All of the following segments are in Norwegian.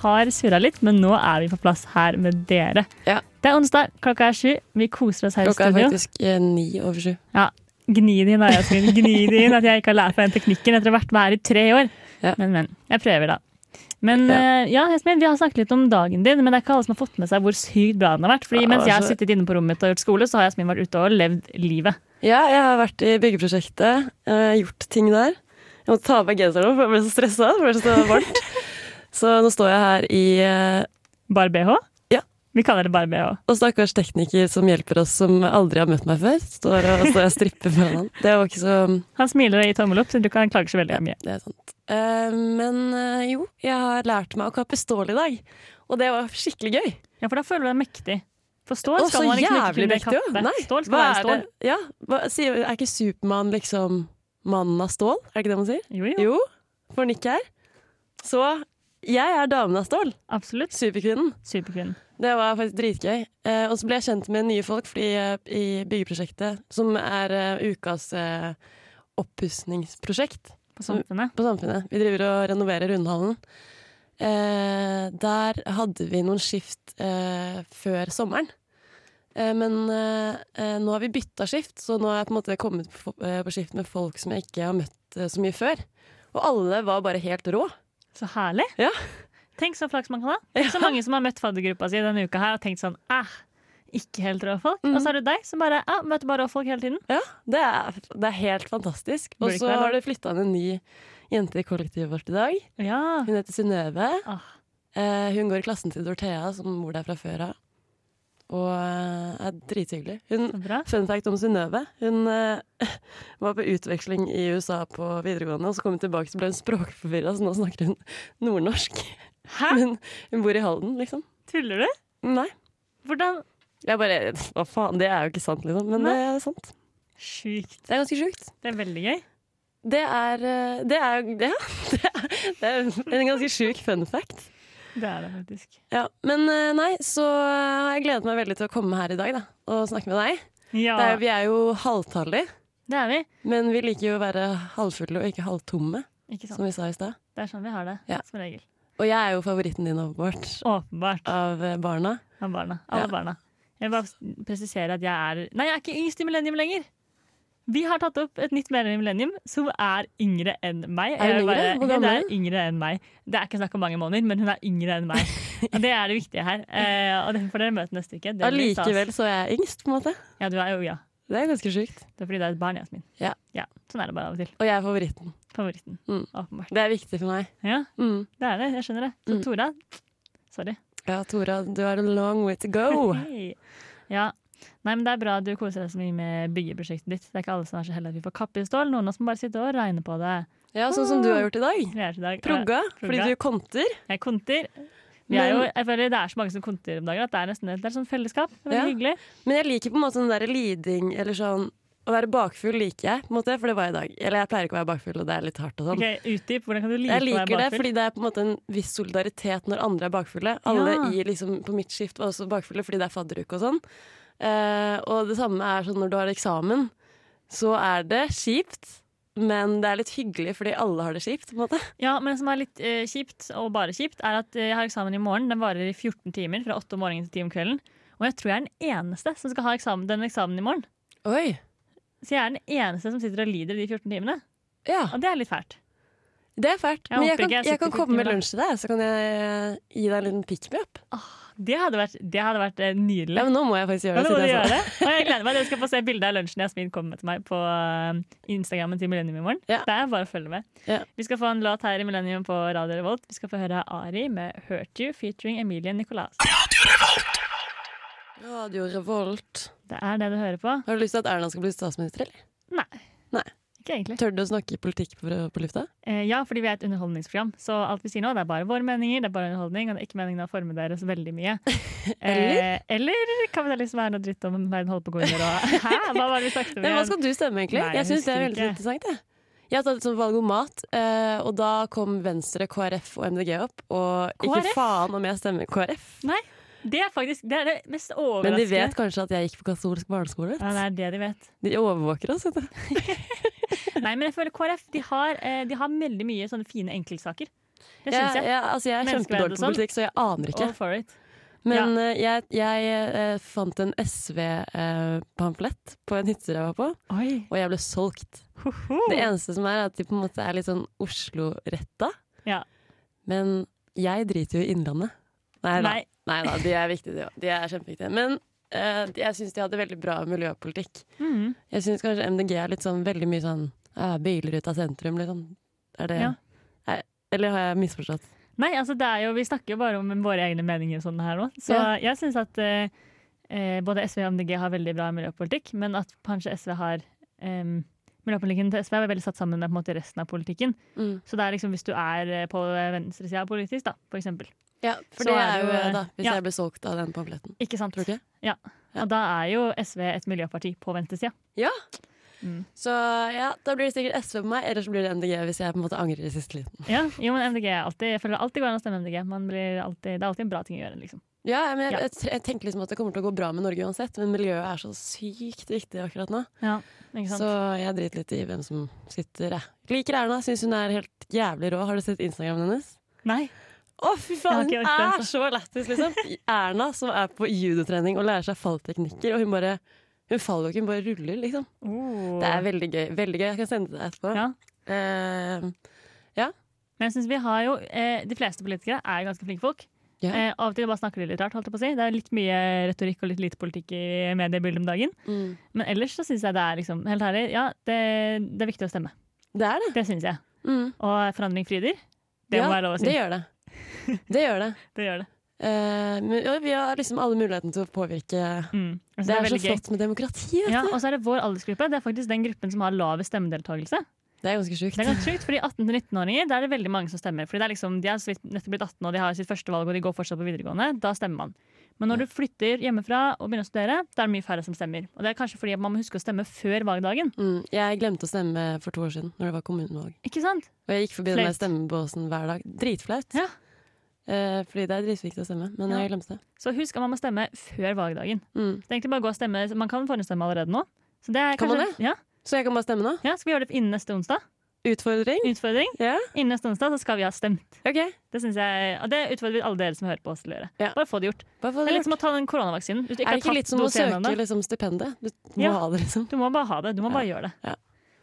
har surra litt, men nå er vi på plass her med dere. Ja. Det er onsdag, klokka er sju. Vi koser oss her Klokka i er studio. faktisk eh, ni over sju. Ja, Gni det inn, da, Jasmin. Gni det inn at jeg ikke har lært meg den teknikken etter å ha vært med her i tre år. Ja. Men, men. Jeg prøver, da. Men Ja. eh, ja, Jasmin, vi har snakket litt om dagen din, men det er ikke alle som har fått med seg hvor sykt bra den har vært. Fordi Ja, mens jeg har altså- sittet inne på rommet mitt og gjort skole, så har Jasmin vært ute og levd livet. Ja, jeg har vært i byggeprosjektet, eh, gjort ting der. Jeg måtte ta av meg genseren, nå, for jeg ble så stressa. for Det ble så varmt. Så nå står jeg her i eh, Bar BH? Ja. Vi kaller det Bar BH. Og stakkars tekniker som hjelper oss, som aldri har møtt meg før. Står og, står og stripper foran han. Det var ikke så Han smiler og gir tommel opp, så du kan klage så veldig mye. Det er sant. Eh, men eh, jo, jeg har lært meg å kappe stål i dag. Og det var skikkelig gøy. Ja, for da føler du deg mektig. For stål Og skal så man liksom ikke jævlig kunne mektig, kappe. jo. Nei, Stål skal hva være er stål. det? Ja, hva, sier, er ikke Supermann liksom mannen av stål? Er det ikke det man sier? Jo, jo, Jo, for Nick her. Så jeg er damen av stål. absolutt. Superkvinnen. Superkvinnen. Det var faktisk dritgøy. Eh, og så ble jeg kjent med nye folk fordi, eh, i byggeprosjektet, som er eh, ukas eh, oppussingsprosjekt På samfunnet. på Samfunnet. Vi driver og renoverer Rundhallen. Eh, der hadde vi noen skift eh, før sommeren. Eh, men eh, eh, nå har vi bytta skift, så nå har jeg på en måte kommet på, eh, på skift med folk som jeg ikke har møtt eh, så mye før. Og alle var bare helt rå. Så herlig. Ja. Tenk så flaks man kan ha. Tenk så mange som har møtt faddergruppa si denne uka her og tenkt sånn æh, ikke helt rå folk. Og Mm. så er det deg som bare ja, møter bare rå folk hele tiden. Ja, det er, det er helt fantastisk. Bør Og ikke så være det. har det flytta inn en ny jente i kollektivet vårt i dag. Ja. Hun heter Synnøve. Ah, Eh, hun går i klassen til Dorthea, som bor der fra før av. Og eh, er drithyggelig. Hun, så bra. fun fact om Synnøve. Hun eh, var på utveksling i USA på videregående, og så kom hun tilbake så ble hun språkforvirra, så nå snakker hun nordnorsk. Hæ? Men hun bor i Halden, liksom. Tuller du? Nei. Hvordan Jeg bare Hva faen, det er jo ikke sant, liksom. Men det er sant. Sjukt. Det er ganske sjukt. Det er veldig gøy. Det er eh, Det er det, det, er, det er en ganske sjuk fun fact. Det er det faktisk. Ja, Men eh, nei, så eh, har jeg gledet meg veldig til å komme her i dag da, og snakke med deg. Ja, Det er, jo- vi er jo halvtallige, det er vi. men vi liker jo å være halvfulle og ikke halvtomme, Ikke sant. som vi sa i stad. Det er sånn vi har det, Ja. som regel. Og jeg er jo favoritten din, åpenbart, Åpenbart. av eh, barna. Av barna. Alle Ja. barna. Jeg vil bare presisere at jeg er Nei, jeg er ikke yngst i Millennium lenger. Vi har tatt opp et nytt medlem i Millennium som er yngre enn meg. Er hun Jeg vil yngre? Hvor Ja, gammel det er er yngre enn meg. Det er ikke snakk om mange måneder, men hun er yngre enn meg. Og det er det viktige her. Eh, og den får dere møte neste uke. Det blir stas. Allikevel så er jeg yngst, på en måte. Ja, du er jo ja. Det er ganske sjukt. Det er fordi det er et barn, Jasmin. Ja. Sånn er det bare av og til. Og jeg er favoritten. Favoritten. Mm. Åpenbart. Det er viktig for meg. Ja, Mm. det er det. Jeg skjønner det. Så Mm. Tora, sorry. Ja, Tora, du har a long way to go. Hei. Ja. Nei, men Det er bra at du koser deg så mye med byggeprosjektet ditt. Det er ikke alle som er så heldige at vi får kappe i stål. Noen av oss må bare sitte og regne på det. Ja, sånn som du har gjort i dag. Vi er til dag. Progga, fordi Progga. du konter. Jeg konter. Vi er jo, Men- jeg føler Det er så mange som konter om dagen at det er nesten et det er sånn fellesskap. Det er veldig Ja. hyggelig. Men jeg liker på en måte den der liding eller sånn Å være bakfull liker jeg, på en måte, for det var jeg i dag. Eller jeg pleier ikke å være bakfull, og det er litt hardt og sånn. Ok, Utdyp. Hvordan kan du like å Jeg liker være det bakfull? fordi det er på en måte en viss solidaritet når andre er bakfulle. Alle Ja. i, liksom, på mitt skift var også bakfulle fordi det er fadderuke og sånn. Eh, og det samme er sånn når du har eksamen, så er det kjipt, men det er litt hyggelig fordi alle har det kjipt. på en måte. Ja, men Det som er litt eh, kjipt, og bare kjipt, er at eh, jeg har eksamen i morgen. Den varer i 14 timer, fra 8 om morgenen til 10 om kvelden. Og jeg tror jeg er den eneste som skal ha eksamen, den eksamen i morgen. Oi, Så jeg er den eneste som sitter og lider de 14 timene. ja, Og det er litt fælt. Det er fælt. Jeg men jeg håper kan, ikke jeg jeg, sitter kan på komme med timen, da. lunsj til deg, så kan jeg eh, gi deg en liten pick me up. Det hadde vært, det hadde vært eh, Ja, nydelig. men nå må jeg faktisk Ja, gjøre det må det. du siden jeg sa det. altså. gjøre. Og jeg gleder meg. Dere skal få se bilde av lunsjen Jasmin kommer med til meg på eh, Instagrammen til Millennium i morgen. Ja. Det er bare å følge med. Ja. Vi skal få en låt her i Millennium på Radio Revolt. Vi skal få høre Ari med 'Hurt You' featuring Emilie Nicolas. Radio Revolt. Det er det du hører på? Har du lyst til at Erna skal bli statsminister, eller? Nei. Nei. Ikke egentlig. Tør du å snakke politikk på, på lufta? Eh, ja, fordi vi er et underholdningsprogram, så alt vi sier nå, det er bare våre meninger, det er bare underholdning, og det er ikke meningen å forme dere så veldig mye. Eh, eller kapitalisme er noe dritt om verden holder på å gå under og Hæ, hva var det vi snakket om Men hva igjen? skal du stemme, egentlig? Nei, jeg jeg syns det er husker veldig ikke. interessant. Jeg, jeg har tatt et sånt valgomat, eh, og da kom Venstre, KrF og MDG opp. Og KrF? ikke faen om jeg stemmer KrF. Det er faktisk det, er det mest overraskende. Men de vet kanskje at jeg gikk på katolsk barneskole. Ja, det er det de vet. De overvåker oss, vet du. Nei, men jeg føler KrF de har, eh, de har veldig mye sånne fine enkeltsaker. Det syns jeg. Jeg, altså, jeg er Menneskeverd kjempedårlig og på sånn. politikk, så jeg aner ikke. All for it. Men eh, jeg, jeg eh, fant en SV-pamflett på en hytter jeg var på, Oi. og jeg ble solgt. Hoho. Det eneste som er, er at de på en måte er litt sånn Oslo-retta. Ja. Men jeg driter jo i Innlandet. Nei da. Nei. Nei da, de er viktige, de òg. De er kjempeviktige. Men eh, jeg syns de hadde veldig bra miljøpolitikk. Mhm. Jeg syns kanskje MDG er litt sånn veldig mye sånn ja, biler ut av sentrum, liksom. Er det Ja. Nei, Eller har jeg misforstått? Nei, altså det er jo, vi snakker jo bare om våre egne meninger sånn her nå. Så Ja. jeg syns at eh, eh, både SV og MDG har veldig bra miljøpolitikk, men at kanskje SV har em, Miljøpolitikken til SV er veldig satt sammen med på en måte resten av politikken. Mm. Så det er liksom hvis du er eh, på venstresida politisk, da, for eksempel. Ja, for Så det er er jo det jo- eh, da, hvis ja. jeg ble solgt av den pamfletten. Ikke sant? Tror du ikke? Ja. Og da er jo SV et miljøparti på venstresida. Ja. Mm. Så ja, da blir det sikkert SV på meg, eller så blir det MDG hvis jeg på en måte angrer i siste liten. Ja, jo, men MDG er alltid, jeg føler det alltid går an å stemme MDG. Man blir alltid, det er alltid en bra ting å gjøre, liksom. Ja, men jeg, Ja. jeg, jeg tenker liksom at det kommer til å gå bra med Norge uansett, men miljøet er så sykt viktig akkurat nå. Ikke sant? Så jeg driter litt i hvem som sitter. Jeg. Liker Erna, syns hun er helt jævlig rå. Har du sett Instagramen hennes? Nei. Å, fy faen, Jeg har ikke hun orket det, er så lættis, liksom! Erna som er på judotrening og lærer seg fallteknikker, og hun bare Hun faller jo ikke, hun bare ruller, liksom. Oh. Det er veldig gøy. Veldig gøy. Jeg kan sende det deg etterpå. Ja. Eh, Men jeg synes vi har jo, eh, De fleste politikere er ganske flinke folk. Ja. Eh, av og til bare snakker de litt rart. holdt jeg på å si. Det er litt mye retorikk og litt lite politikk i mediebildet om dagen. mm. Men ellers så syns jeg det er liksom, helt ærlig, ja, det, det er viktig å stemme. Det er det. Det syns jeg. Mm. Og forandring fryder. Det må ja, være lov å si. Det gjør det. Det gjør det. Det gjør det. Eh, men ja, vi har liksom alle mulighetene til å påvirke. Mm. Jeg synes Det er så veldig gøy. flott med demokrati. vet Ja, du. og så er det vår aldersgruppe. Det er faktisk den gruppen som har lavest stemmedeltakelse. Det er ganske sjukt. Det er ganske sjukt, fordi 18-19-åringer der er det veldig mange som stemmer. Fordi det er liksom, De er så vidt nettopp blitt 18 og de har sitt første valg og de går fortsatt på videregående. Da stemmer man. Men når du flytter hjemmefra og begynner å studere, da er det mye færre som stemmer. Og det er kanskje fordi at man må huske å stemme før valgdagen. Mm, jeg glemte å stemme for to år siden, når det var kommunevalg. Ikke sant? Og jeg gikk forbi den der Flaut. stemmebåsen hver dag. Dritflaut. Ja. Eh, fordi det er dritviktig å stemme, men Ja. jeg glemte det. Så husk at man må stemme før valgdagen. Mm. Det er egentlig bare å gå og stemme. Man kan forhåndsstemme allerede nå. Så det er Kan man kanskje- Ja, Så jeg kan bare stemme nå? ja, Skal vi gjøre det innen neste onsdag? Utfordring? Utfordring. Ja, Innen neste onsdag så skal vi ha stemt. OK. Det synes jeg, og det utfordrer vi alle dere som hører på oss til å gjøre. Ja. Bare få det gjort. Bare få Det det er litt gjort. som å ta den koronavaksinen. Hvis du Er ikke det har ikke litt tatt som å dosen ennå. søke liksom, stipendet? Du må Ja. ha det, liksom. Du må bare ha det. Du må bare gjøre det. Ja.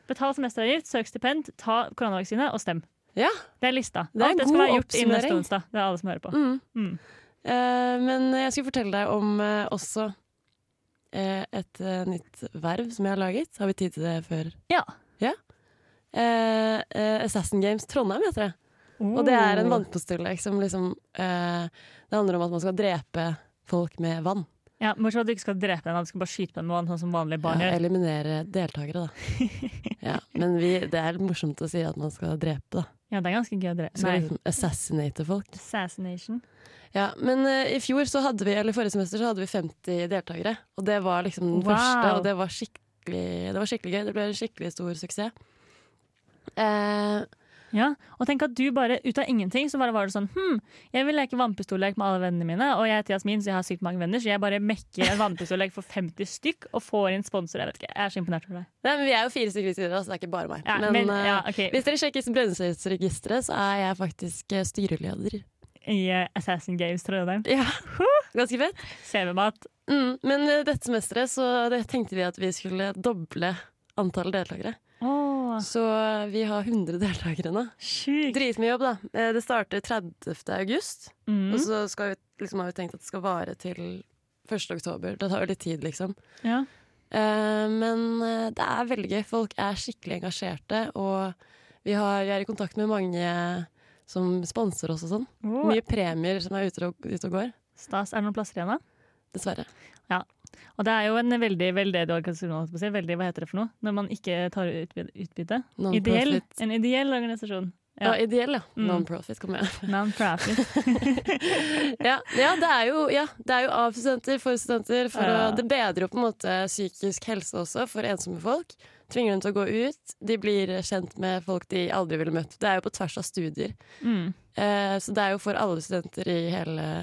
Betal semesteravgift, søk stipend, ta koronavaksine og stem. Ja. Det er lista. Det er Alt det god skal være gjort innen neste oppsummering. onsdag. Det er alle som hører på. Mm. Mm. Eh, men jeg skulle fortelle deg om eh, også eh, et eh, nytt verv som jeg har laget. Har vi tid til det før? Ja. Eh, eh, Assassin Games Trondheim heter det. Og det Mm. er en vannpistolek som liksom eh, Det handler om at man skal drepe folk med vann. Ja, Bortsett fra at du ikke skal drepe den, du skal bare skyte den med vann, sånn som vanlige barn Ja, gjør. eliminere deltakere, da. ja, men vi, det er morsomt å si at man skal drepe, da. Ja, det er ganske gøy å Du drepe. skal Nei. liksom assassinate folk. Assassination. Ja, men eh, i fjor så hadde vi, eller forrige semester så hadde vi 50 deltakere. Og det var liksom den Wow. første, og det var, skikkelig, det var skikkelig gøy. Det ble en skikkelig stor suksess. Eh, Ja, Og tenk at du bare ut av ingenting så bare var det sånn Hm, jeg vil leke vannpistollek med alle vennene mine, og jeg heter Jasmin, så jeg har sykt mange venner, så jeg bare mekker en vannpistollek for 50 stykk og får inn sponsor. Jeg vet ikke, jeg er så imponert over deg. nei, men vi er jo fire stykker i studio, så det er ikke bare meg. Ja, men, men eh, ja, ok. hvis dere sjekker Brønnøysundregisteret, så er jeg faktisk eh, styreleder. I eh, Assassin Games, tror jeg det er. Ja, ganske fett. CV-mat. Mm, men eh, dette semesteret så det tenkte vi at vi skulle doble antall deltakere. Åh, Så eh, vi har 100 deltakere nå. sjukt. Dritmye jobb, da. Eh, Det starter 30. august. Mm. Og så skal vi, liksom, har vi tenkt at det skal vare til 1. oktober. Det tar jo litt tid, liksom. Ja. Eh, men eh, det er veldig gøy. Folk er skikkelig engasjerte. Og vi, har, vi er i kontakt med mange som sponser oss og sånn. Åh, Mye premier som er ute og, ute og går. Stas, er det noen plasser igjen da? Dessverre. Og det er jo en veldig veldedig organisasjon, holdt jeg på å si. veldig, hva heter det for noe? Når man ikke tar ut utbytte- utbytte. Non-profit. Ideell, en ideell organisasjon. Ja. Ja, ideell, ja. Mm. Non-profit, kommer jeg. Non-profit. ja, ja, det er jo, ja, det er jo av studenter for studenter. For Ja. å, det bedrer jo på en måte psykisk helse også for ensomme folk. Tvinger dem til å gå ut. De blir kjent med folk de aldri ville møtt. Det er jo på tvers av studier. Mm. Eh, så det er jo for alle studenter i hele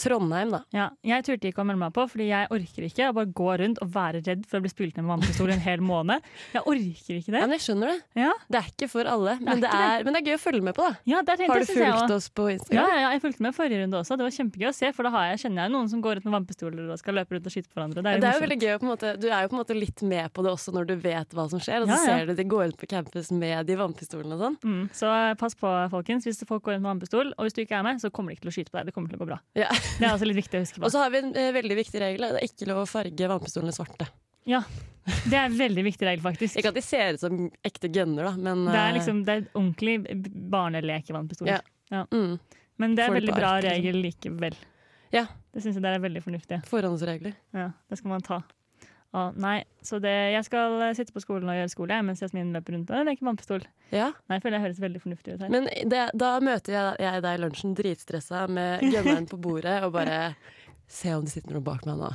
Trondheim, da. Ja, jeg turte ikke å melde meg på, fordi jeg orker ikke å bare gå rundt og være redd for å bli spult ned med vannpistol en hel måned. Jeg orker ikke det. Ja, men jeg skjønner det. Ja, Det er ikke for alle, men Det er det ikke er, men det er gøy å følge med på, da. ja det er Har du fulgt oss på Ja, Instagram? ja, ja, jeg fulgte med forrige runde også. Det var kjempegøy å se, for da har jeg, kjenner jeg noen som går ut med vannpistoler og skal løpe rundt og skyte på hverandre. Det er jo Det er jo morsomt. veldig gøy, å på en måte, Du er jo på en måte litt med på det også når du vet hva som skjer. Og så Ja, ja. ser du de går ut på campus med de vannpistolene og sånn. Mm, så eh, pass på, folkens. Hvis folk går rundt med vannpistol, og hvis du ikke er med, så kommer de ikke til å skyte på deg. Det kommer til å gå bra. Ja. Det er også litt viktig å huske Og på. så har vi en eh, veldig viktig regel. Det er ikke lov å farge vannpistolene svarte. Ja, det er en veldig viktig regel, faktisk. Ikke at de ser ut som ekte gunner, da, men Det eh, er liksom det er ordentlig b- barnelekevannpistoler. Ja. mm, Men det er Får det veldig på bra ark, liksom. regel likevel. Ja. Det syns jeg der er veldig fornuftig. forhåndsregler. Ja, det skal man ta. Å, nei, så det, jeg skal eh, sitte på skolen og gjøre skole jeg, mens Jasmin løper rundt og leker vannpistol. Ja. Nei, jeg føler jeg høres veldig fornuftig ut her. Men det, da møter jeg, jeg deg i lunsjen dritstressa med gunneren på bordet og bare Se om det sitter noen bak meg nå.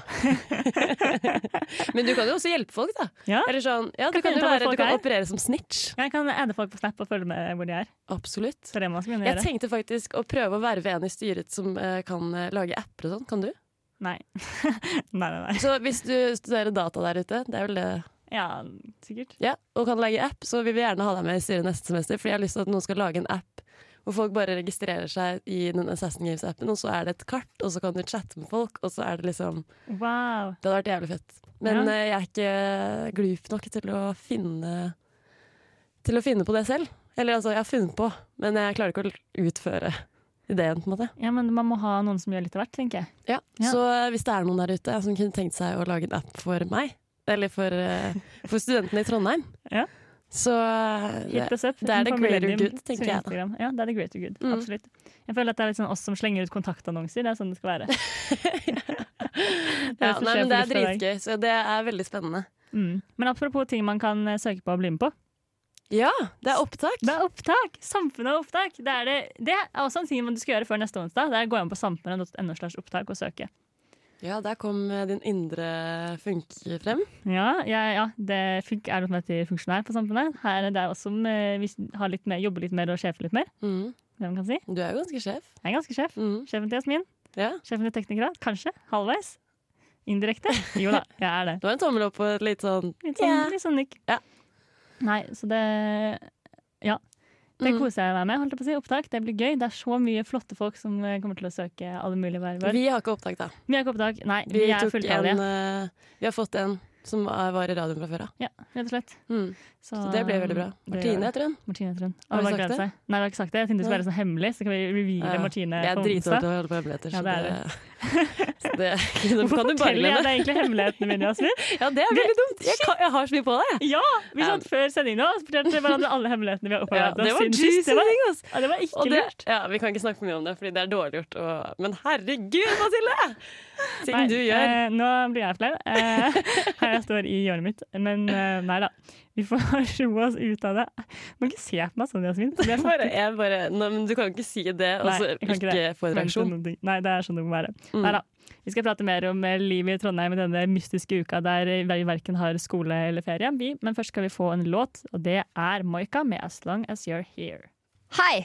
Men du kan jo også hjelpe folk, da. Ja, Eller sånn, ja, du Kan finne kan, jo ut av hvor være, folk du kan er. operere som snitch. jeg kan adde folk på Snap og følge med hvor de er. Absolutt. Så det må man skal begynne å Jeg gjøre. tenkte faktisk å prøve å verve en i styret som eh, kan eh, lage apper og sånn. Kan du? Nei. nei, nei, nei. Så hvis du studerer data der ute, det er vel det Ja, sikkert. Ja, og kan lage app, så vi vil gjerne ha deg med i styret neste semester. Fordi jeg har lyst til at noen skal lage en app hvor folk bare registrerer seg i den Assassin Games-appen, og så er det et kart, og så kan du chatte med folk, og så er det liksom Wow. Det hadde vært jævlig fett. Men Ja. eh, jeg er ikke glup nok til å finne Til å finne på det selv. Eller altså, jeg har funnet på, men jeg klarer ikke å utføre ideen, på en måte. Ja, men man må ha noen som gjør litt av hvert, tenker jeg. Ja. Så eh, hvis det er noen der ute som kunne tenkt seg å lage en app for meg, eller for, eh, for studentene i Trondheim, Ja. så eh, det- Hit us up. det er the utenfor greater Millennium, good, tenker som jeg da. Instagram. Ja, det er the greater good. Mm. Absolutt. Jeg føler at det er litt sånn oss som slenger ut kontaktannonser. Det er sånn det skal være. det Ja, som skjer nei, men det på lufta er i dag. dritgøy, så det er veldig spennende. Mm. Men apropos ting man kan eh, søke på og bli med på. Ja, det er opptak. Det er opptak! Samfunnet har opptak. Det er, det, det er også en ting man skal gjøre før neste onsdag. Det er å gå inn på samfunnet.no slash opptak og søke. Ja, der kom eh, din indre funk frem. Ja, ja, ja. Det funk, er noe som heter funksjonær på Samfunnet. Her er det også om eh, vi har litt mer, jobber litt mer og sjefer litt mer. Mhm. Det man kan si. Du er jo ganske sjef. Jeg er ganske sjef. Mhm. Sjefen til Jasmin. Ja. Sjefen til teknikere. Kanskje. Halvveis. Indirekte. Jo da, jeg er det. Det var en tommel opp og et litt sånn Litt sånn, Ja. litt sånn nikk. Ja. Nei, så det Ja. Det Mm. koser jeg meg med. holdt jeg på å si. Opptak, det blir gøy. Det er så mye flotte folk som eh, kommer til å søke alle mulige verv. Vi har ikke opptak, da. Vi har ikke opptak. Nei, vi, Vi, er tok en, fulltallige. eh, vi har fått en som er- var i radioen fra før av. Ja, rett og slett. Mhm. Så, Så det ble veldig bra. Ah, det gjør Martine, det. heter hun. Martine heter hun. Har vi Alle bare sagt gleder det? seg. Nei, vi har ikke sagt det. Jeg tenkte det skulle Nei. være sånn hemmelig, så kan vi reveale Ja. Martine. Jeg er på dritdårlig onsdag. til å holde på hemmeligheter, Ja, så det er det, så det kan Hvorfor du bare forteller jeg glemme. deg egentlig hemmelighetene mine, Jasmin? Ja, det er veldig dumt. Jeg, kan, jeg har så mye på deg. jeg. Ja! Vi satt før sending nå og fortalte hverandre alle hemmelighetene vi har Ja, opparbeidet det oss var siden sist. Det var, juicy ting, altså. ja, det var ikke Og det, lurt. ja, vi kan ikke snakke for mye om det, Fordi det er dårlig gjort. Og, men herregud, Mathilde! Ting Nei, du gjør. eh, nå blir jeg flau eh, her jeg står i hjørnet mitt. Men eh, nei da. Vi får roe oss ut av det. Du må ikke se på meg sånn, Jasmin. så blir jeg Bare, jeg bare, nei, men du kan ikke si det, og Nei, så jeg kan ikke, ikke det. få en forventet reaksjon. noen ting. Nei, det er sånn det må være. Mm. Neida. Vi skal prate mer om eh, livet i Trondheim i denne mystiske uka der vi verken har skole eller ferie. Vi, men først skal vi få en låt, og det er Moika med 'As Long As You're Here'. Hei!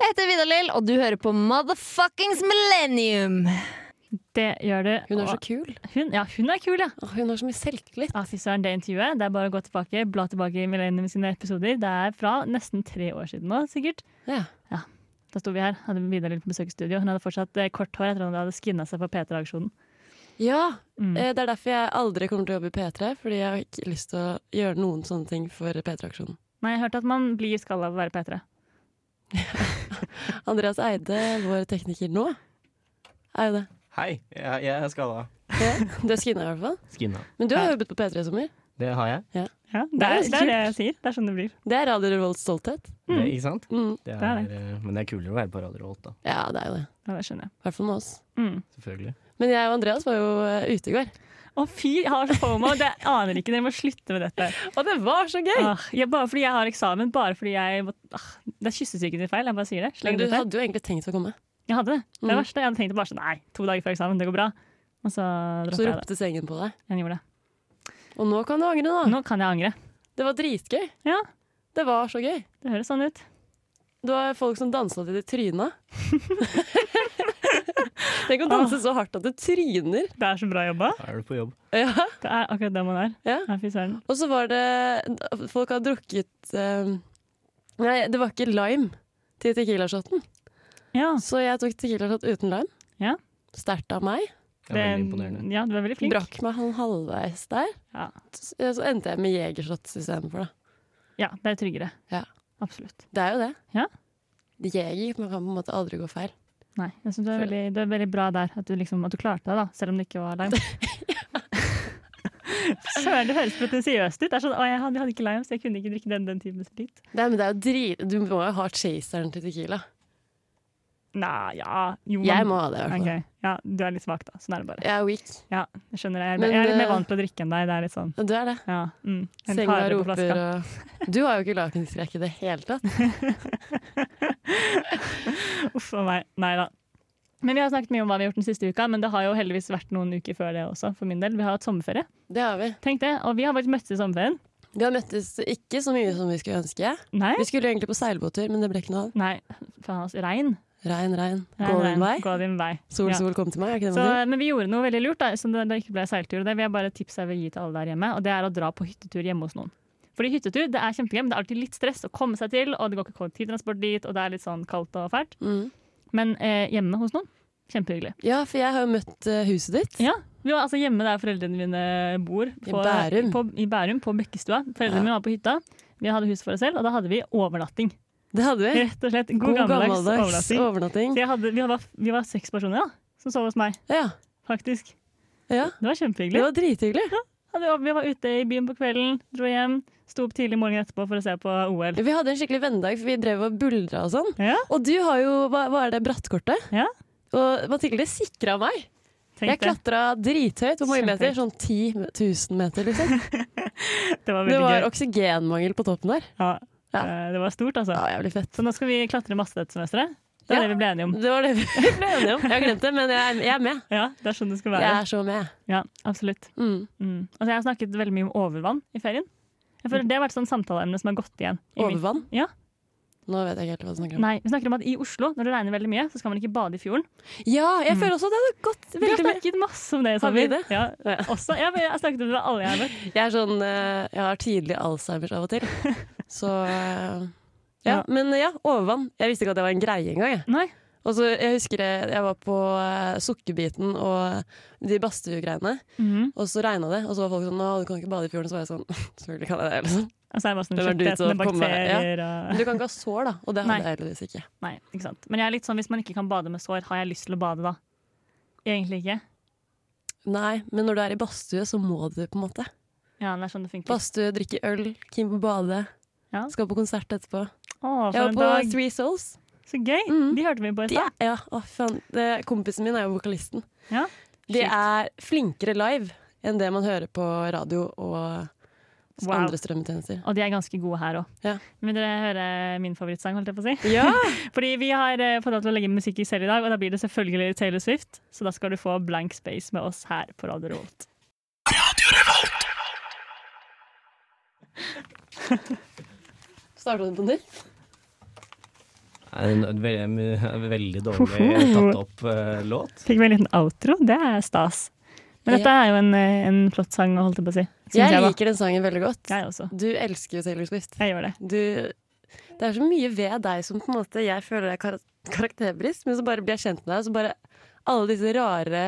Jeg heter Vidar-Lill, og du hører på Motherfuckings Millennium. Det gjør det. Hun er så og- kul. hun, ja, hun er kul, ja. Åh, Hun har så mye selvtillit. Ja, Fy søren, det intervjuet. Det er bare å gå tilbake, bla tilbake i Millennium sine episoder. Det er fra nesten tre år siden nå, sikkert. Ja. Da sto vi her, hadde Vidar Lill på besøk i studio. Hun hadde fortsatt eh, kort hår etter at hun hadde skinna seg på P3-aksjonen. ja. Mm. eh, Det er derfor jeg aldri kommer til å jobbe i P3, fordi jeg har ikke lyst til å gjøre noen sånne ting for P3-aksjonen. Nei, jeg hørte at man blir skalla av å være P3. Andreas Eide, vår tekniker nå, er jo det. Hei, jeg, jeg er skada. Ja. Du er skinna i hvert fall. Skinna. Men du har jobbet på P3 i sommer. Det har jeg. Ja, det, Det er er, ganske det er det jeg sier. Det er sånn det blir. Det er Radio Revolts stolthet. Det, ikke sant? Mm. Det Det er er, eh, men det er kulere å være på Radio Holt, da. Ja, det er jo det. Ja, det skjønner jeg. I hvert fall med oss. Mm. Selvfølgelig. Men jeg og Andreas var jo eh, ute i går. Å fy, jeg har så fomo. Det aner ikke. Dere må slutte med dette. Og det var så gøy! Åh, jeg, bare fordi jeg har eksamen, bare fordi jeg må- ah, Det er kyssesyken din feil. Jeg bare sier det. Sleng Men du det ut der. hadde jo egentlig tenkt å komme. Jeg hadde det. Det er det Mm. verste. Jeg hadde tenkt bare sånn Nei, to dager før eksamen, det går bra. Og så Så droppa jeg det. ropte sengen på deg. Jeg gjorde det. Og nå kan du angre, da. Nå kan jeg angre. Det var dritgøy. Ja. Det var så gøy. Det høres sånn ut. Det var folk som dansa til de tryna. Tenk å danse så hardt at det tryner. Det er så bra jobba. Da er du på jobb. Ja, Det er akkurat det man er. ja. Ja, fy søren. Og så var det Folk har drukket eh, Nei, det var ikke lime til tequila-shoten. Ja, Så jeg tok tequila-shot uten lime. Ah. Ja. Sterkt av meg. Det er veldig imponerende. Ja, du er veldig flink. Brakk meg han halvveis der. Ja. Så så endte jeg med jegershots istedenfor, da. Ja, det er tryggere. Ja. Absolutt. Det er jo det. Ja. Jeger man kan på en måte aldri gå feil. Nei, jeg synes du er veldig, du er veldig bra der. At du, liksom, at du klarte det, da, selv om det ikke var lime. Søren, det høres pretensiøst ut. Det er sånn, å, jeg hadde, jeg hadde ikke lime, så jeg kunne ikke drikke den, den typen sprit. Nei, men det er jo drit... Du må jo ha chaseren til tequila. Nei, ja jo, man- Jeg må ha det, i hvert fall. Ok, Ja, du er litt svak, da. Sånn er det bare. Jeg er weak. Ja, jeg skjønner det. Jeg er, Men, jeg er litt mer eh, vant til å drikke enn deg. Det er litt sånn, Ja, Du er det. ja. Mm, Jeg er litt Senga hardere på roper flaska. og Du har jo ikke lakenskrekk i det hele tatt. Uff a meg. Nei da. Men vi har snakket mye om hva vi har gjort den siste uka, men det har jo heldigvis vært noen uker før det også, for min del. Vi har hatt sommerferie. Det har vi. Tenk det. Og vi har faktisk møttes i sommerferien. Vi har møttes ikke så mye som vi skulle ønske. Nei. Vi skulle jo egentlig på seilbåttur, men det ble ikke noe av. Nei, faen altså. Regn. Regn, regn, Regn, gå din regn. vei. Gå din vei. Sol, Ja. sol, kom til meg. Er ikke det Så, man sier? men vi gjorde noe veldig lurt, da, så det, det ikke ble seiltur. og Det vil jeg bare tipse jeg vil gi til alle der hjemme, og det er å dra på hyttetur hjemme hos noen. Fordi hyttetur det er kjempegøy, men det er alltid litt stress å komme seg til, og det går ikke kollektivtransport dit, og det er litt sånn kaldt og fælt. Mm. Men eh, hjemme hos noen, kjempehyggelig. Ja, for jeg har jo møtt eh, huset ditt. Ja, vi var altså hjemme der foreldrene mine bor. Bærum. På, I Bærum, på Bekkestua. Foreldrene Ja. mine var på hytta. Vi hadde hus for oss selv, og da hadde vi overnatting. Det hadde vi. Rett og slett god, gammeldags, overnatting. overnatting. Så jeg hadde, vi, var, vi var seks personer da, som sov hos meg, Ja. faktisk. ja. Det var Det kjempehyggelig. var drithyggelig. Hadde- Vi var ute i byen på kvelden, dro hjem, sto opp tidlig morgenen etterpå for å se på OL. Vi hadde en skikkelig vennedag, for vi drev og buldra og sånn. Ja, Og du har jo Hva, hva er det brattkortet? Ja. Og Mathilde sikra meg. tenk det. Jeg klatra drithøyt. Hvor mange meter? Kjempehøyt. Sånn 10 000 meter, liksom. Det var Det veldig var gøy. oksygenmangel på toppen der. Ja, Ja. eh, det var stort, altså. Ja, jævlig fett. Så nå skal vi klatre masse dette semesteret. Det var Ja. det vi ble enige om. Det var det vi ble enige om. Jeg har glemt det, men jeg er, jeg er med. Ja, det er sånn det skal Jeg være. er så med. Ja, absolutt. Mm. Mm. Altså, jeg har snakket veldig mye om overvann i ferien. Jeg føler Det har vært sånn samtaleemne som har gått igjen. i mitt- Mm. Overvann? Ja. Nå vet jeg ikke helt hva du snakker om. Nei, Vi snakker om at i Oslo, når det regner veldig mye, så skal man ikke bade i fjorden. Ja, jeg føler også at det hadde gått Vi har veldig mye. snakket masse om det. Har vi Samir. det? Ja, Ja. også, ja, men jeg har snakket om det med alle jeg har møtt. Jeg, er sånn, eh, jeg har tidlig Alzheimers av og til. Så eh, ja. Ja. Men eh, ja, overvann. Jeg visste ikke at det var en greie engang. jeg. Nei. Og så Jeg husker jeg, jeg var på eh, Sukkerbiten og de badstuegreiene, Mhm. og så regna det. Og så var folk sånn 'Å, du kan ikke bade i fjorden.' Så var jeg sånn Selvfølgelig kan jeg det. Liksom. Altså, jeg var sånn Det var du kjøttetende som kom med- bakterier og Men du kan ikke ha sår, da. Og det Nei. hadde jeg heldigvis ikke. Nei, ikke sant. Men jeg er litt sånn, hvis man ikke kan bade med sår, har jeg lyst til å bade da? Egentlig ikke. Nei, men når du er i badstue, så må du, på en måte. Ja, det er sånn det funker. Badstue, drikke øl, Kim på badet. Ja. Skal på konsert etterpå. Å, for Jeg var en på dag. Three Souls. Så gøy! Mhm. De hørte vi på i De stad. er, ja, å, faen. Det, kompisen min er jo vokalisten. Ja. De Shit. er flinkere live enn det man hører på radio og Wow. andre strømmetjenester. Og de er ganske gode her òg. Ja. Vil dere høre min favorittsang, holdt jeg på å si? Ja! Fordi vi har eh, fått lov til å legge inn musikk i selv i dag, og da blir det selvfølgelig Taylor Swift. Så da skal du få Blank Space med oss her på Radio Revolt. Starta den på nytt? Det er en veldig, veldig dårlig tatt opp eh, låt. Fikk vi en liten outro? Det er stas. Men dette er jo en, eh, en flott sang, holdt jeg på å si. Synes Jeg da. liker den sangen veldig godt. Jeg også. Du elsker jo Taylor Swift. Jeg gjør det. Du, det er så mye ved deg som på en måte jeg føler er kar karakterbrist, men så bare blir jeg kjent med deg, og så bare alle disse rare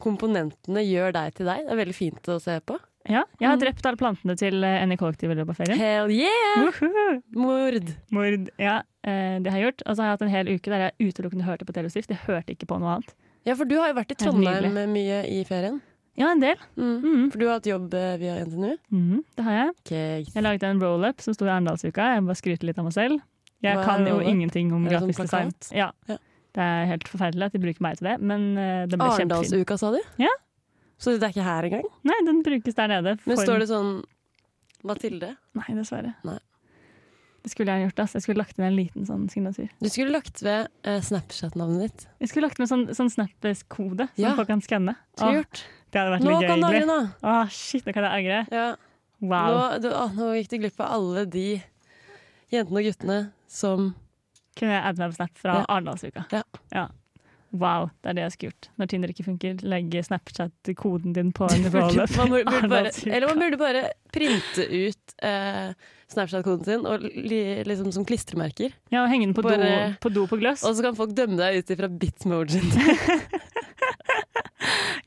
komponentene gjør deg til deg. Det er veldig fint å se på. Ja, jeg Mm. har drept alle plantene til eh, en i kollektivet i løpet av ferien. Hell yeah! Woohoo! Mord! Mord. Ja, eh, det har jeg gjort. Og så har jeg hatt en hel uke der jeg utelukkende hørte på Taylor Swift. Jeg hørte ikke på noe annet. Ja, for du har jo vært i Helt Trondheim mye i ferien. Ja, en del. Mm. Mhm. For du har hatt jobb eh, via NTNU. Mhm, det har jeg. Okay. Jeg laget en roll-up som sto i Arendalsuka. Jeg bare skryter litt av meg selv. Jeg Hva er kan jo roll-up? ingenting om Er det sånn grafisk design. plakat? Ja. Ja. Det er helt forferdelig at de bruker meg til det, men eh, den ble kjempefin. Arendalsuka, sa du? Ja. Så det er ikke her engang? Nei, den brukes der nede. Men for- står det sånn Mathilde? Nei, dessverre. Nei. Det skulle jeg gjort. ass. Jeg skulle lagt inn en liten sånn signatur. Du skulle lagt ved eh, Snapchat-navnet ditt. Jeg skulle lagt med sånn, sånn Snap-kode som Ja. folk kan skanne. Skulle Åh, gjort. det hadde vært Nå litt gøy, kan du egentlig. angre, nå! Åh, shit, nå kan jeg angre. Ja. Nå, Wow. du, å, nå gikk du glipp av alle de jentene og guttene som Kunne jeg adde meg på Snap fra Ja. Arendalsuka. Ja. Wow, det er det jeg skulle gjort. Når Tinder ikke funker, legge Snapchat-koden din på en roll-up. Man burde, burde bare, Arendalsuka. eller man burde bare printe ut eh, Snapchat-koden sin og li, liksom som klistremerker. Ja, og henge den på, Bare- do, på do på gløss. Og så kan folk dømme deg ut ifra bitmojien.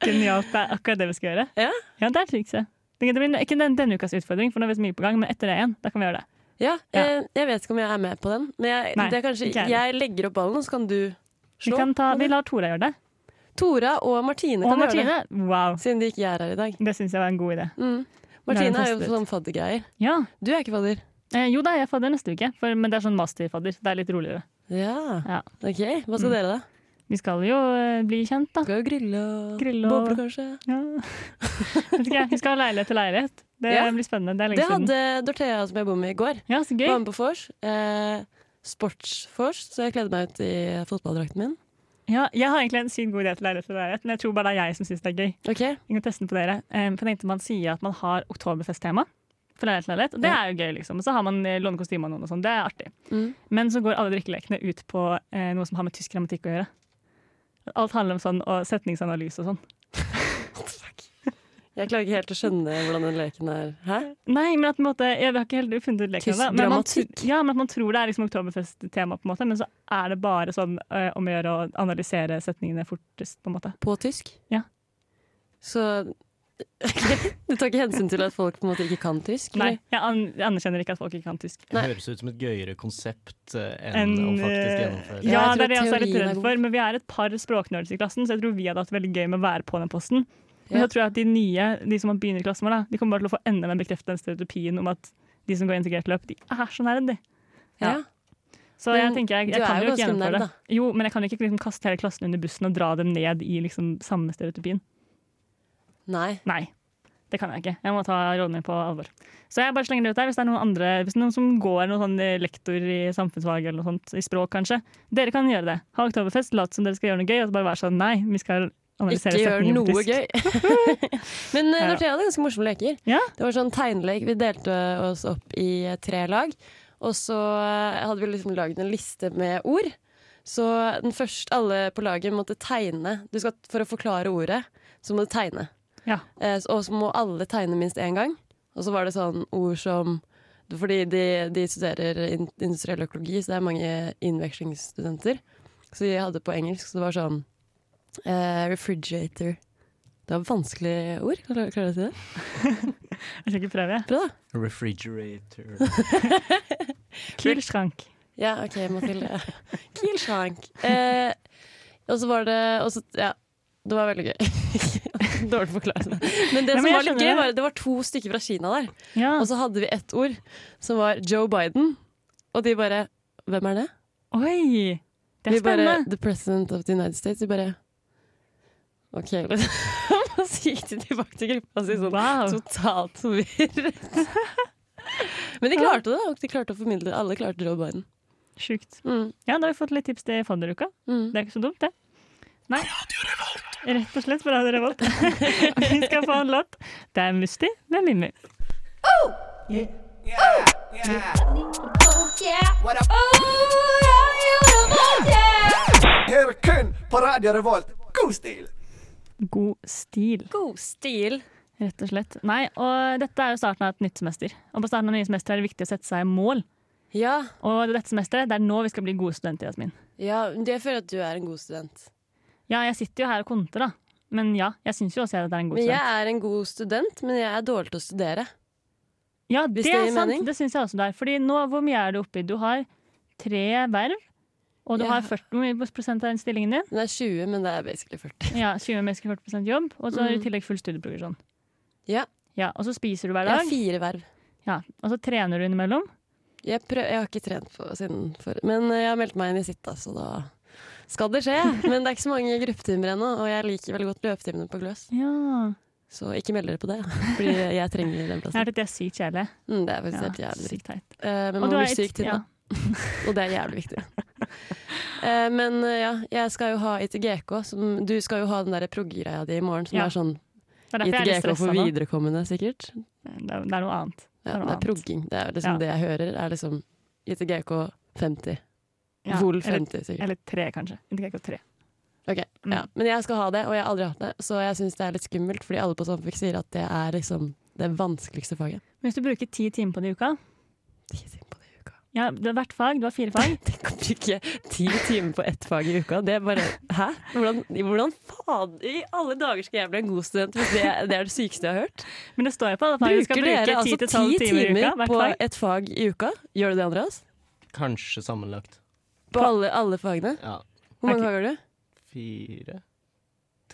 Genialt. Det er akkurat det vi skal gjøre. Ja. det er trikset. Det blir ikke den, denne ukas utfordring, for nå er vi så mye på gang, men etter det igjen, da kan vi gjøre det. Ja, Ja. eh, jeg vet ikke om jeg er med på den, men jeg, Nei, det er kanskje, ikke jeg jeg legger opp ballen, så kan du Vi, slå. kan ta, vi lar Tora gjøre det. Tora og Martine Og kan gjøre det, Martine. Wow. siden de ikke er her i dag. Det syns jeg var en god idé. La Mm. den Martine er jo teste ut. sånn faddergreier. Ja. Du er ikke fadder. Eh, jo da, jeg er fadder neste uke, for, men det er sånn masterfadder. Det er litt roligere. Ja, Mm. Ja. ok. Hva skal dere da? Vi skal jo eh, bli kjent, da. Skal jo grille og Grille og- boble, kanskje. Ja. Vet ikke, jeg. Vi skal ha leilighet til leilighet. Det Ja. blir spennende. Det er Det lenge siden. hadde Dorthea som jeg bor med i går. Ja, så gøy. Var med på vors. Eh, Sportsvors, så jeg kledde meg ut i fotballdrakten min. Ja, jeg har egentlig en sykt god idé til leilighet til leilighet, men jeg tror bare det er jeg som syns det er gøy. Ok, Jeg kan teste den på dere. Eh, For jeg tenkte man sier at man har oktoberfesttema for leilighet til leilighet, og det Ja. er jo gøy, liksom. Og så har man eh, låne kostyme av noen og sånn. Det er artig. Mm. Men så går alle drikkelekene ut på eh, noe som har med tysk grammatikk å gjøre. Alt handler om sånn og setningsanalyse og sånn. Jeg klarer ikke helt å skjønne hvordan den leken er. Hæ? Nei, men at på en måte, jeg har ikke helt funnet ut leken Tysk ennå, men man grammatikk. tr- Ja, men at man tror det er liksom oktoberfesttema, på en måte, men så er det bare sånn eh, om å gjøre å analysere setningene fortest, på en måte. På tysk? Ja. Så Du tar ikke hensyn til at folk på en måte ikke kan tysk? Nei, eller? jeg an jeg anerkjenner ikke at folk ikke kan tysk. Det Nei. høres ut som et gøyere konsept eh, enn enn å faktisk eh, gjennomføre. Ja, det Jeg tror er det jeg også er litt teorien er redd god. for. Men vi er et par språknerds i klassen, så jeg tror vi hadde hatt veldig gøy med å være på den posten. Men Ja. så tror jeg at de nye, de som begynner i klassen vår, da, de kommer bare til å få enda mer bekreftet den stereotypien om at de som går integrert løp, de er så nære de. Ja. Så jeg Men tenker jeg, du jeg er kan jo jo ikke ganske nerd, gjennomføre da. det. Jo, men jeg kan jo ikke liksom kaste hele klassen under bussen og dra dem ned i liksom samme stereotypien. Nei. Nei. Det kan jeg ikke. Jeg må ta rollen min på alvor. Så jeg bare slenger det ut der. Hvis det er noen andre, hvis det er noen som går noen sånn eh, lektor i samfunnsfag eller noe sånt, i språk kanskje, dere kan gjøre det. Ha oktoberfest, lat som dere skal gjøre noe gøy, og så bare være sånn nei, vi skal analysere Ikke gjør setningen på noe tysk. gøy. Men eh, Ja. Dorthea hadde ganske morsomme leker. Ja. Det var sånn tegnelek. Vi delte oss opp i eh, tre lag. Og så eh, hadde vi liksom laget en liste med ord. Så den første alle på laget måtte tegne. Du skal, for å forklare ordet, så må du tegne. Ja. Eh, s- og så må alle tegne minst én gang. Og så var det sånn ord som Fordi de, de studerer in, industriell økologi, så det er mange innvekslingsstudenter. Så de hadde på engelsk, så det var sånn eh, Refrigerator. Det var vanskelige ord. Klarer klarer du å si det? Jeg skal ikke prøve. Prøv, da. Refrigerator. Kilskrank. Ja, OK, Mathilde. Kielsjank. Eh, og så var det og så, Ja, det var veldig gøy. Dårlig forklart. Men det Nei, men som jeg var litt skjønner gøy, det. var at det var to stykker fra Kina der. Ja. Og så hadde vi ett ord, som var Joe Biden. Og de bare Hvem er det? Oi! Det er vi bare, spennende. The President of the United States. De bare OK, liksom. Og så gikk de tilbake til gruppa si sånn Wow. totalt forvirret. Men de klarte det. Og de klarte å formidle Alle klarte Joe Biden. Sjukt. Mm, Ja, da har vi fått litt tips til fadderuka. mm. Det er ikke så dumt, det. Nei. Rett og slett på Radio Revolt. Vi skal få en låt. Det er Musti med Mimmi. Her kun på Radio Revolt. God stil! God stil. God stil. Rett og slett. Nei, og dette er jo starten av et nytt semester. Og på starten av nye semester er det viktig å sette seg mål. Ja, Og dette semesteret, det er nå vi skal bli gode studenter, Jasmin. ja, men jeg føler at du er en god student. Ja, jeg sitter jo her og konter, da. Men ja, jeg syns jo også jeg at det er en god Men student. jeg er en god student, men jeg er dårlig til å studere. Ja, hvis det det er gir sant. mening. Det syns jeg også det er. Fordi nå, hvor mye er du oppi? Du har tre verv, og du Ja. har 40 hvor mye prosent av den stillingen din. Den er 20, men det er basically 40. Ja, 20 mennesker, 40 jobb, og så har du i tillegg full studieprogresjon. Mm. Ja. Ja, og så spiser du hver Jeg har dag, fire verv. ja, og så trener du innimellom. Jeg, prøv, jeg har ikke trent på siden før, men eh, jeg har meldt meg inn i sitt, da, så da skal det skje. Men det er ikke så mange gruppetimer ennå, og jeg liker veldig godt løpetimene på Gløs. Ja. Så ikke meld dere på det, fordi jeg trenger den Jeg har plassen. hørt at det er sykt kjedelig. Mm, det er faktisk helt Ja, jævlig. sykt teit. Eh, Men Og man du blir er syk et- til det, ja. og det er jævlig viktig. Eh, Men eh, ja, jeg skal jo ha ITGK. Som, du skal jo ha den der prog-greia di i morgen, som Ja. er sånn Det er derfor jeg er litt ITGK stressa for nå. viderekommende, sikkert. Mm, Det er, det er noe annet. Ja, noe det er annet. progging. Det er liksom Ja. det jeg hører, er liksom ITGK 50. Ja, Vol eller, 50, sikkert. eller tre, Mm. kanskje. Ikke akkurat tre. Ok, ja. Men jeg skal ha det, og jeg har aldri hatt det, så jeg syns det er litt skummelt, fordi alle på Samfik sier at det er liksom det vanskeligste faget. Hvis du bruker ti timer på det i uka Ti timer på det i uka. ja, det er Hvert fag, du har fire fag. Tenk å bruke ti timer på ett fag i uka. Det er bare Hæ? Hvordan, hvordan faen i alle dager skal jeg bli en god student hvis det, det er det sykeste jeg har hørt? Men det står jo på alle fag. Du skal Bruker dere bruke ti altså til tolv ti timer i uka. timer Hvert på fag. ett fag i uka? Gjør du det, Andreas? Kanskje sammenlagt. På alle, alle fagene? Ja. Hvor Ok. mange fag har du? Fire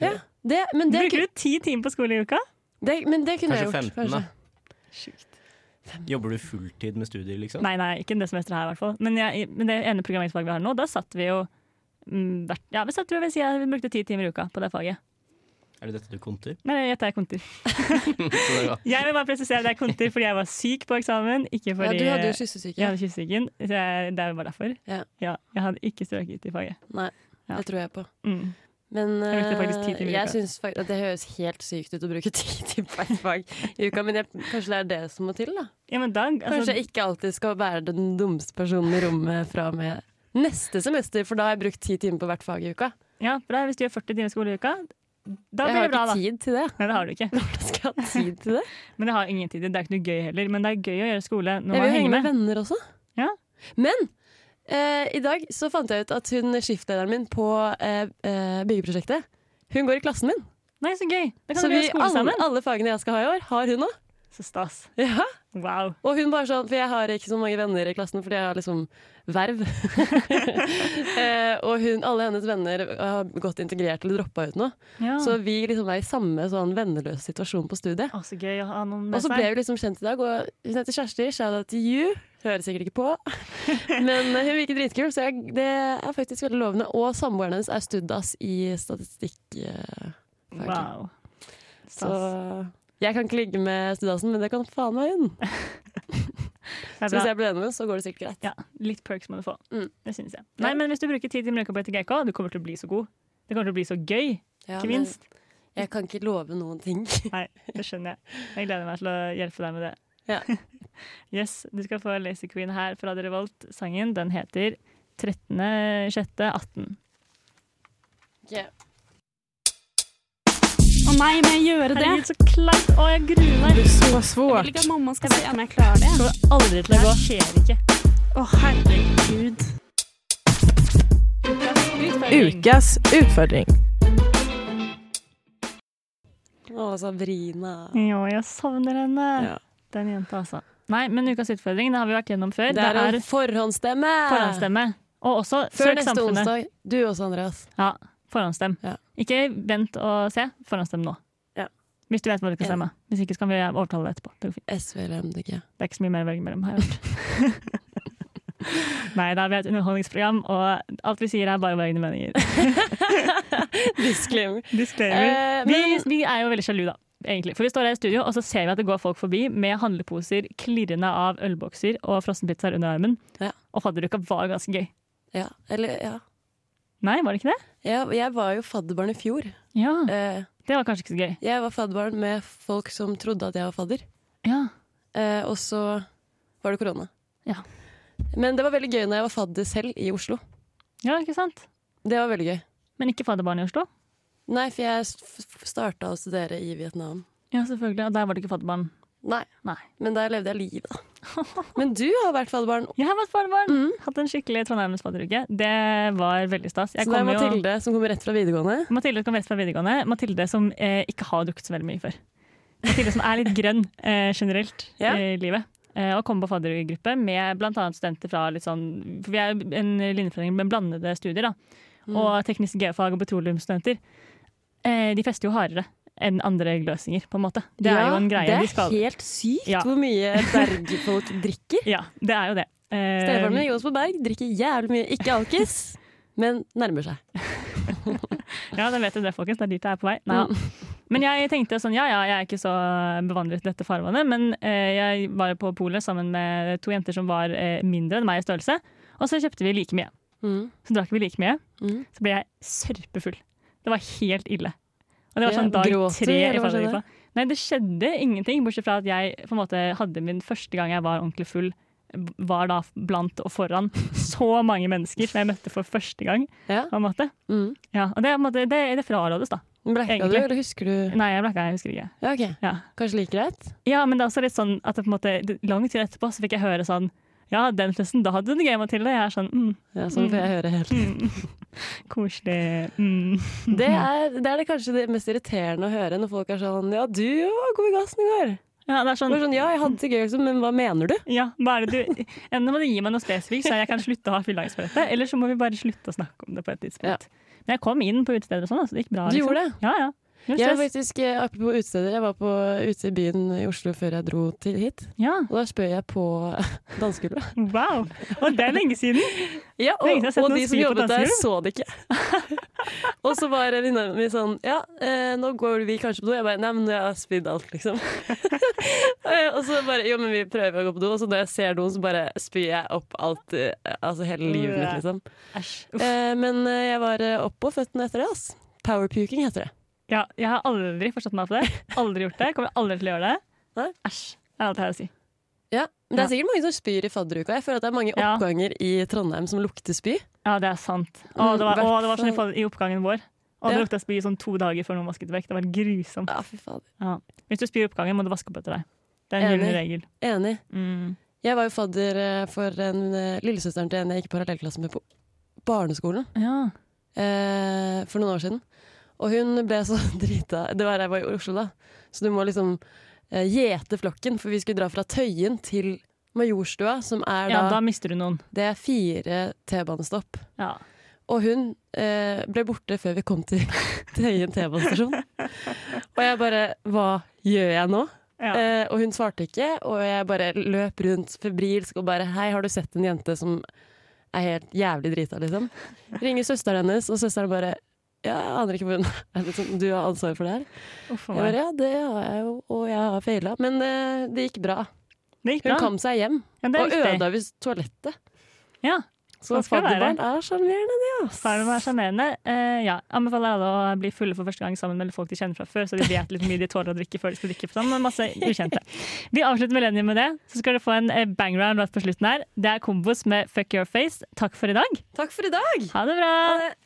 Ja, det, men, det, Bruker du ti timer på skole i uka? ku- det, men det kunne jeg gjort. Kanskje 15, da. Sjukt. Jobber du fulltid med studier, liksom? Nei, nei, ikke det semesteret her, i hvert fall. Men, jeg, men det ene programmeringsfaget vi har nå, da satt vi jo mm, hvert- ja, vi satt, tror jeg vi sier vi brukte ti timer i uka på det faget. Er det dette du konter? Nei, jeg gjetter jeg konter. Så det er bra. Jeg vil bare presisere at jeg konter fordi jeg var syk på eksamen, ikke Ja, fordi du hadde jo jeg kyssesyke. hadde kyssesyken. så jeg- Det er jo bare derfor. Ja. jeg hadde ikke strøket i faget. Nei, Ja. det tror jeg på. Mm. Men Jeg brukte faktisk ti eh, timer i jeg uka. synes fak- at det høres helt sykt ut å bruke ti timer på ett fag i uka, men jeg, kanskje det er det som må til, da. Ja, men da, Kanskje altså, jeg ikke alltid skal være den dummeste personen i rommet fra og med neste semester, for da har jeg brukt ti timer på hvert fag i uka. ja, bra, hvis du gjør 40 timer skole i uka, da Jeg blir har det bra, ikke da. tid til det. Nei, det har du ikke. Hvordan skal jeg ha tid til det? Men det har ingen tid. Det er ikke noe gøy heller. Men det er gøy å gjøre skole når Jeg vil man jo henge henger med med. venner også. Ja. Men eh, i dag så fant jeg ut at hun skiftlederen min på eh, eh, byggeprosjektet, hun går i klassen min. Nei, så gøy! Da kan Så vi vi, gjøre skole alle, sammen. alle fagene jeg skal ha i år, har hun òg. Så stas. Ja. Wow. Og hun bare sånn, for jeg har ikke så mange venner i klassen fordi jeg har liksom verv. eh, og hun, alle hennes venner har gått integrert eller droppa ut nå. Ja. Så vi liksom er i samme sånn venneløs situasjon på studiet. Å, så gøy å ha noen Og med så ble seg. vi liksom kjent i dag, og hun heter Kjersti, shout out to you. Hører sikkert ikke på. Men eh, hun virker dritkul, så jeg, det er faktisk veldig lovende. Og samboeren hennes er studdas i statistikk. eh, faglig. Wow. Så Stas. jeg kan ikke ligge med studdasen, men det kan faen meg hun. Det Så er hvis bra. jeg blir enig med henne, så går det sikkert greit. Ja, litt perks må du få. Mm. Det synes jeg. Ja. Nei, men hvis du bruker ti timer i uka på ETGK, du kommer til å bli så god. Det kommer til å bli så gøy. Ja, Ikke minst. men Jeg kan ikke love noen ting. Nei, det skjønner jeg. Jeg gleder meg til å hjelpe deg med det. Ja. Yes, du skal få Lazy Queen her fra The Revolt. Sangen den heter 13.6.18. Å nei, må jeg gjøre det? Herregud, så kleint! Å, jeg gruer meg! Så Jeg vil svårt. ikke at mamma skal se om jeg klarer det. Det kommer aldri til å gå. Det skjer ikke. Å, herregud. Ukas utfordring. Å, Sabrina. Jo, jeg savner henne. Ja. Den jenta, altså. Nei, men ukas utfordring det har vi vært gjennom før. Det er en forhåndsstemme! forhåndsstemme. Og også Før søk neste samfunnet. onsdag. Du også, Andreas. Ja, forhåndsstem. Ja. Ikke vent og se. Forhåndsstem nå. Ja. Hvis du vet hva du skal Enig. stemme. Hvis ikke så kan vi overtale deg etterpå. Det går fint. SV eller MDG. Det er ikke så mye mer å velge mellom, har jeg hørt. Nei da, vi er et underholdningsprogram, og alt vi sier er bare våre egne meninger. Disclaimer. Disclaimer. Eh, Vi, men vi er jo veldig sjalu, da. Egentlig. For vi står her i studio, og så ser vi at det går folk forbi med handleposer klirrende av ølbokser og frossenpizzaer under armen. Ja. Og fadderuka var ganske gøy. ja, eller, ja. Nei, var det ikke det? Jeg, jeg var jo fadderbarn i fjor. Ja, Eh, Det var kanskje ikke så gøy. jeg var fadderbarn med folk som trodde at jeg var fadder. Ja. Eh, og så var det korona. Ja. Men det var veldig gøy når jeg var fadder selv i Oslo. ja, ikke sant? Det var veldig gøy. Men ikke fadderbarn i Oslo? Nei, for jeg starta å studere i Vietnam. Ja, selvfølgelig. Og der var det ikke fadderbarn. Nei. Nei. Men der levde jeg livet, da. Men du har vært fadderbarn. Jeg har vært fadderbarn! Mm. Hatt en skikkelig Trondheims fadderuke. Det var veldig stas. Jeg Så det er kom jo- Mathilde som kommer rett fra videregående. Mathilde kom rett fra videregående. Mathilde som eh, ikke har drukket så veldig mye før. Mathilde som er litt grønn eh, generelt Ja. i livet. Eh, og kom på faddergruppe med bl.a. studenter fra litt sånn For vi er jo en linjeforening med blandede studier, da. Mm. Og teknisk geofag og petroleumsstudenter. Eh, de fester jo hardere enn andre gløsinger, på en måte. Det er jo en greie. Det de skal, er helt sykt Ja. hvor mye bergfolk drikker. Ja, det er jo det. Eh, Stefaren min, Johs på Berg, drikker jævlig mye. Ikke alkis, men nærmer seg. Ja, da vet du det, folkens. Det er dit jeg er på vei. Nei, ja. Mm. Men jeg tenkte sånn, ja ja, jeg er ikke så bevandret i dette farvannet, men eh, jeg var på polet sammen med to jenter som var eh, mindre enn meg i størrelse, og så kjøpte vi like mye. Mm. Så drakk vi like mye. Mhm. Så ble jeg sørpefull. Det var helt ille. Og det var Ja, sånn dag gråt du, tre eller i hva skjedde? fadderuka. Nei, det skjedde ingenting, bortsett fra at jeg på en måte hadde min første gang jeg var ordentlig full var da blant og foran så mange mennesker som jeg møtte for første gang. Ja. på en måte. Mm. Ja, og det, er på en måte- det, det frarådes, da. Blekka du, Egentlig. eller husker du Nei, jeg blacka, jeg husker ikke. Ja, ok. Ja. Kanskje like greit? Ja, men det er også litt sånn at det på en måte, det- lang tid etterpå så fikk jeg høre sånn Ja, den festen, da hadde du det gøy, Mathilde. Jeg er sånn mm, Ja, sånn får jeg høre helt. koselig. Mm. Det er, det er det kanskje det mest irriterende å høre når folk er sånn Ja, du var god i gassen i går. Ja, det er sånn, Bare sånn, ja, jeg hadde det gøy, liksom, men hva mener du? ja, hva er det du Enten må du gi meg noe spesifikt, så jeg kan slutte å ha fylleangst for dette, eller så må vi bare slutte å snakke om det på et tidspunkt. Men jeg kom inn på utesteder og sånn, altså. Det gikk bra. Du gjorde det? Ja, ja. Null Jeg var stress. faktisk, eh, apropos utesteder, jeg var på, ute i byen i Oslo før jeg dro til hit. Ja, Og da spør jeg på dansegulvet. wow. Og det er lenge siden. Ja, Lenge siden jeg og, har sett og noen de som spy på jobbet der, dansegulv. så det ikke. og så var venninna mi sånn Ja, eh, nå går vi kanskje på do. Jeg bare Nei, men jeg har spydd alt, liksom. Eh, og så bare Jo, men vi prøver å gå på do. Og så når jeg ser noen, så bare spyr jeg opp alt, eh, altså hele livet mitt, liksom. Æsj. Uff. Eh, men eh, jeg var eh, opp på føttene etter det, ass. Powerpuking heter det. Ja, jeg har aldri forstått meg på det. Aldri gjort det. Kommer aldri til å gjøre det. Nei. Æsj. Det er alt jeg har å si. Ja, men Det Ja. er sikkert mange som spyr i fadderuka. Jeg føler at det er mange Ja. oppganger i Trondheim som lukter spy. Ja, det er sant. Å, det var, Mm, å, det var sånn i hvertfall- fall- i oppgangen vår. Og det Ja. lukta spy i sånn to dager før noen vasket det vekk. Det var grusomt. Ja, fy fader. Hvis du spyr i oppgangen, må du vaske opp etter deg. Det er en Enig. gyllen regel. Enig. Mm. Jeg var jo fadder eh, for en eh, lillesøsteren til en jeg gikk i parallellklasse med på barneskolen Ja. eh, for noen år siden. Og hun ble så drita Det var jeg var i Oslo, da. Så du må liksom eh, gjete flokken, for vi skulle dra fra Tøyen til Majorstua, som er ja, da da mister du noen. Det er fire T-banestopp. Ja. Og hun eh, ble borte før vi kom til Tøyen T-banestasjon. Og jeg bare Hva gjør jeg nå? Ja. Eh, og hun svarte ikke, og jeg bare løp rundt febrilsk og bare Hei, har du sett en jente som er helt jævlig drita, liksom? Ringer søsteren hennes, og søsteren bare Ja, jeg aner ikke hvor hun er. Liksom, du har ansvaret for det her? Uff a Jeg meg. bare, ja, det har jeg jo, og jeg har feila. Men eh, det gikk bra. Det gikk Hun bra. kom seg hjem, Ja, det er og viktig. ødela visst toalettet. Ja. Så Sånn skal det fadderbarn er sjarmerende, de, ass. Så er det å være sjarmerende. Eh, ja. Anbefaler alle å bli fulle for første gang sammen med folk de kjenner fra før, så de vet litt hvor mye de tåler å drikke før de skal drikke sammen. Men masse ukjente. Vi avslutter millennium med det. Så skal dere få en eh, bang round rett på slutten her. Det er kombos med Fuck Your Face. Takk for i dag. Takk for i dag! Ha det bra! Ha det.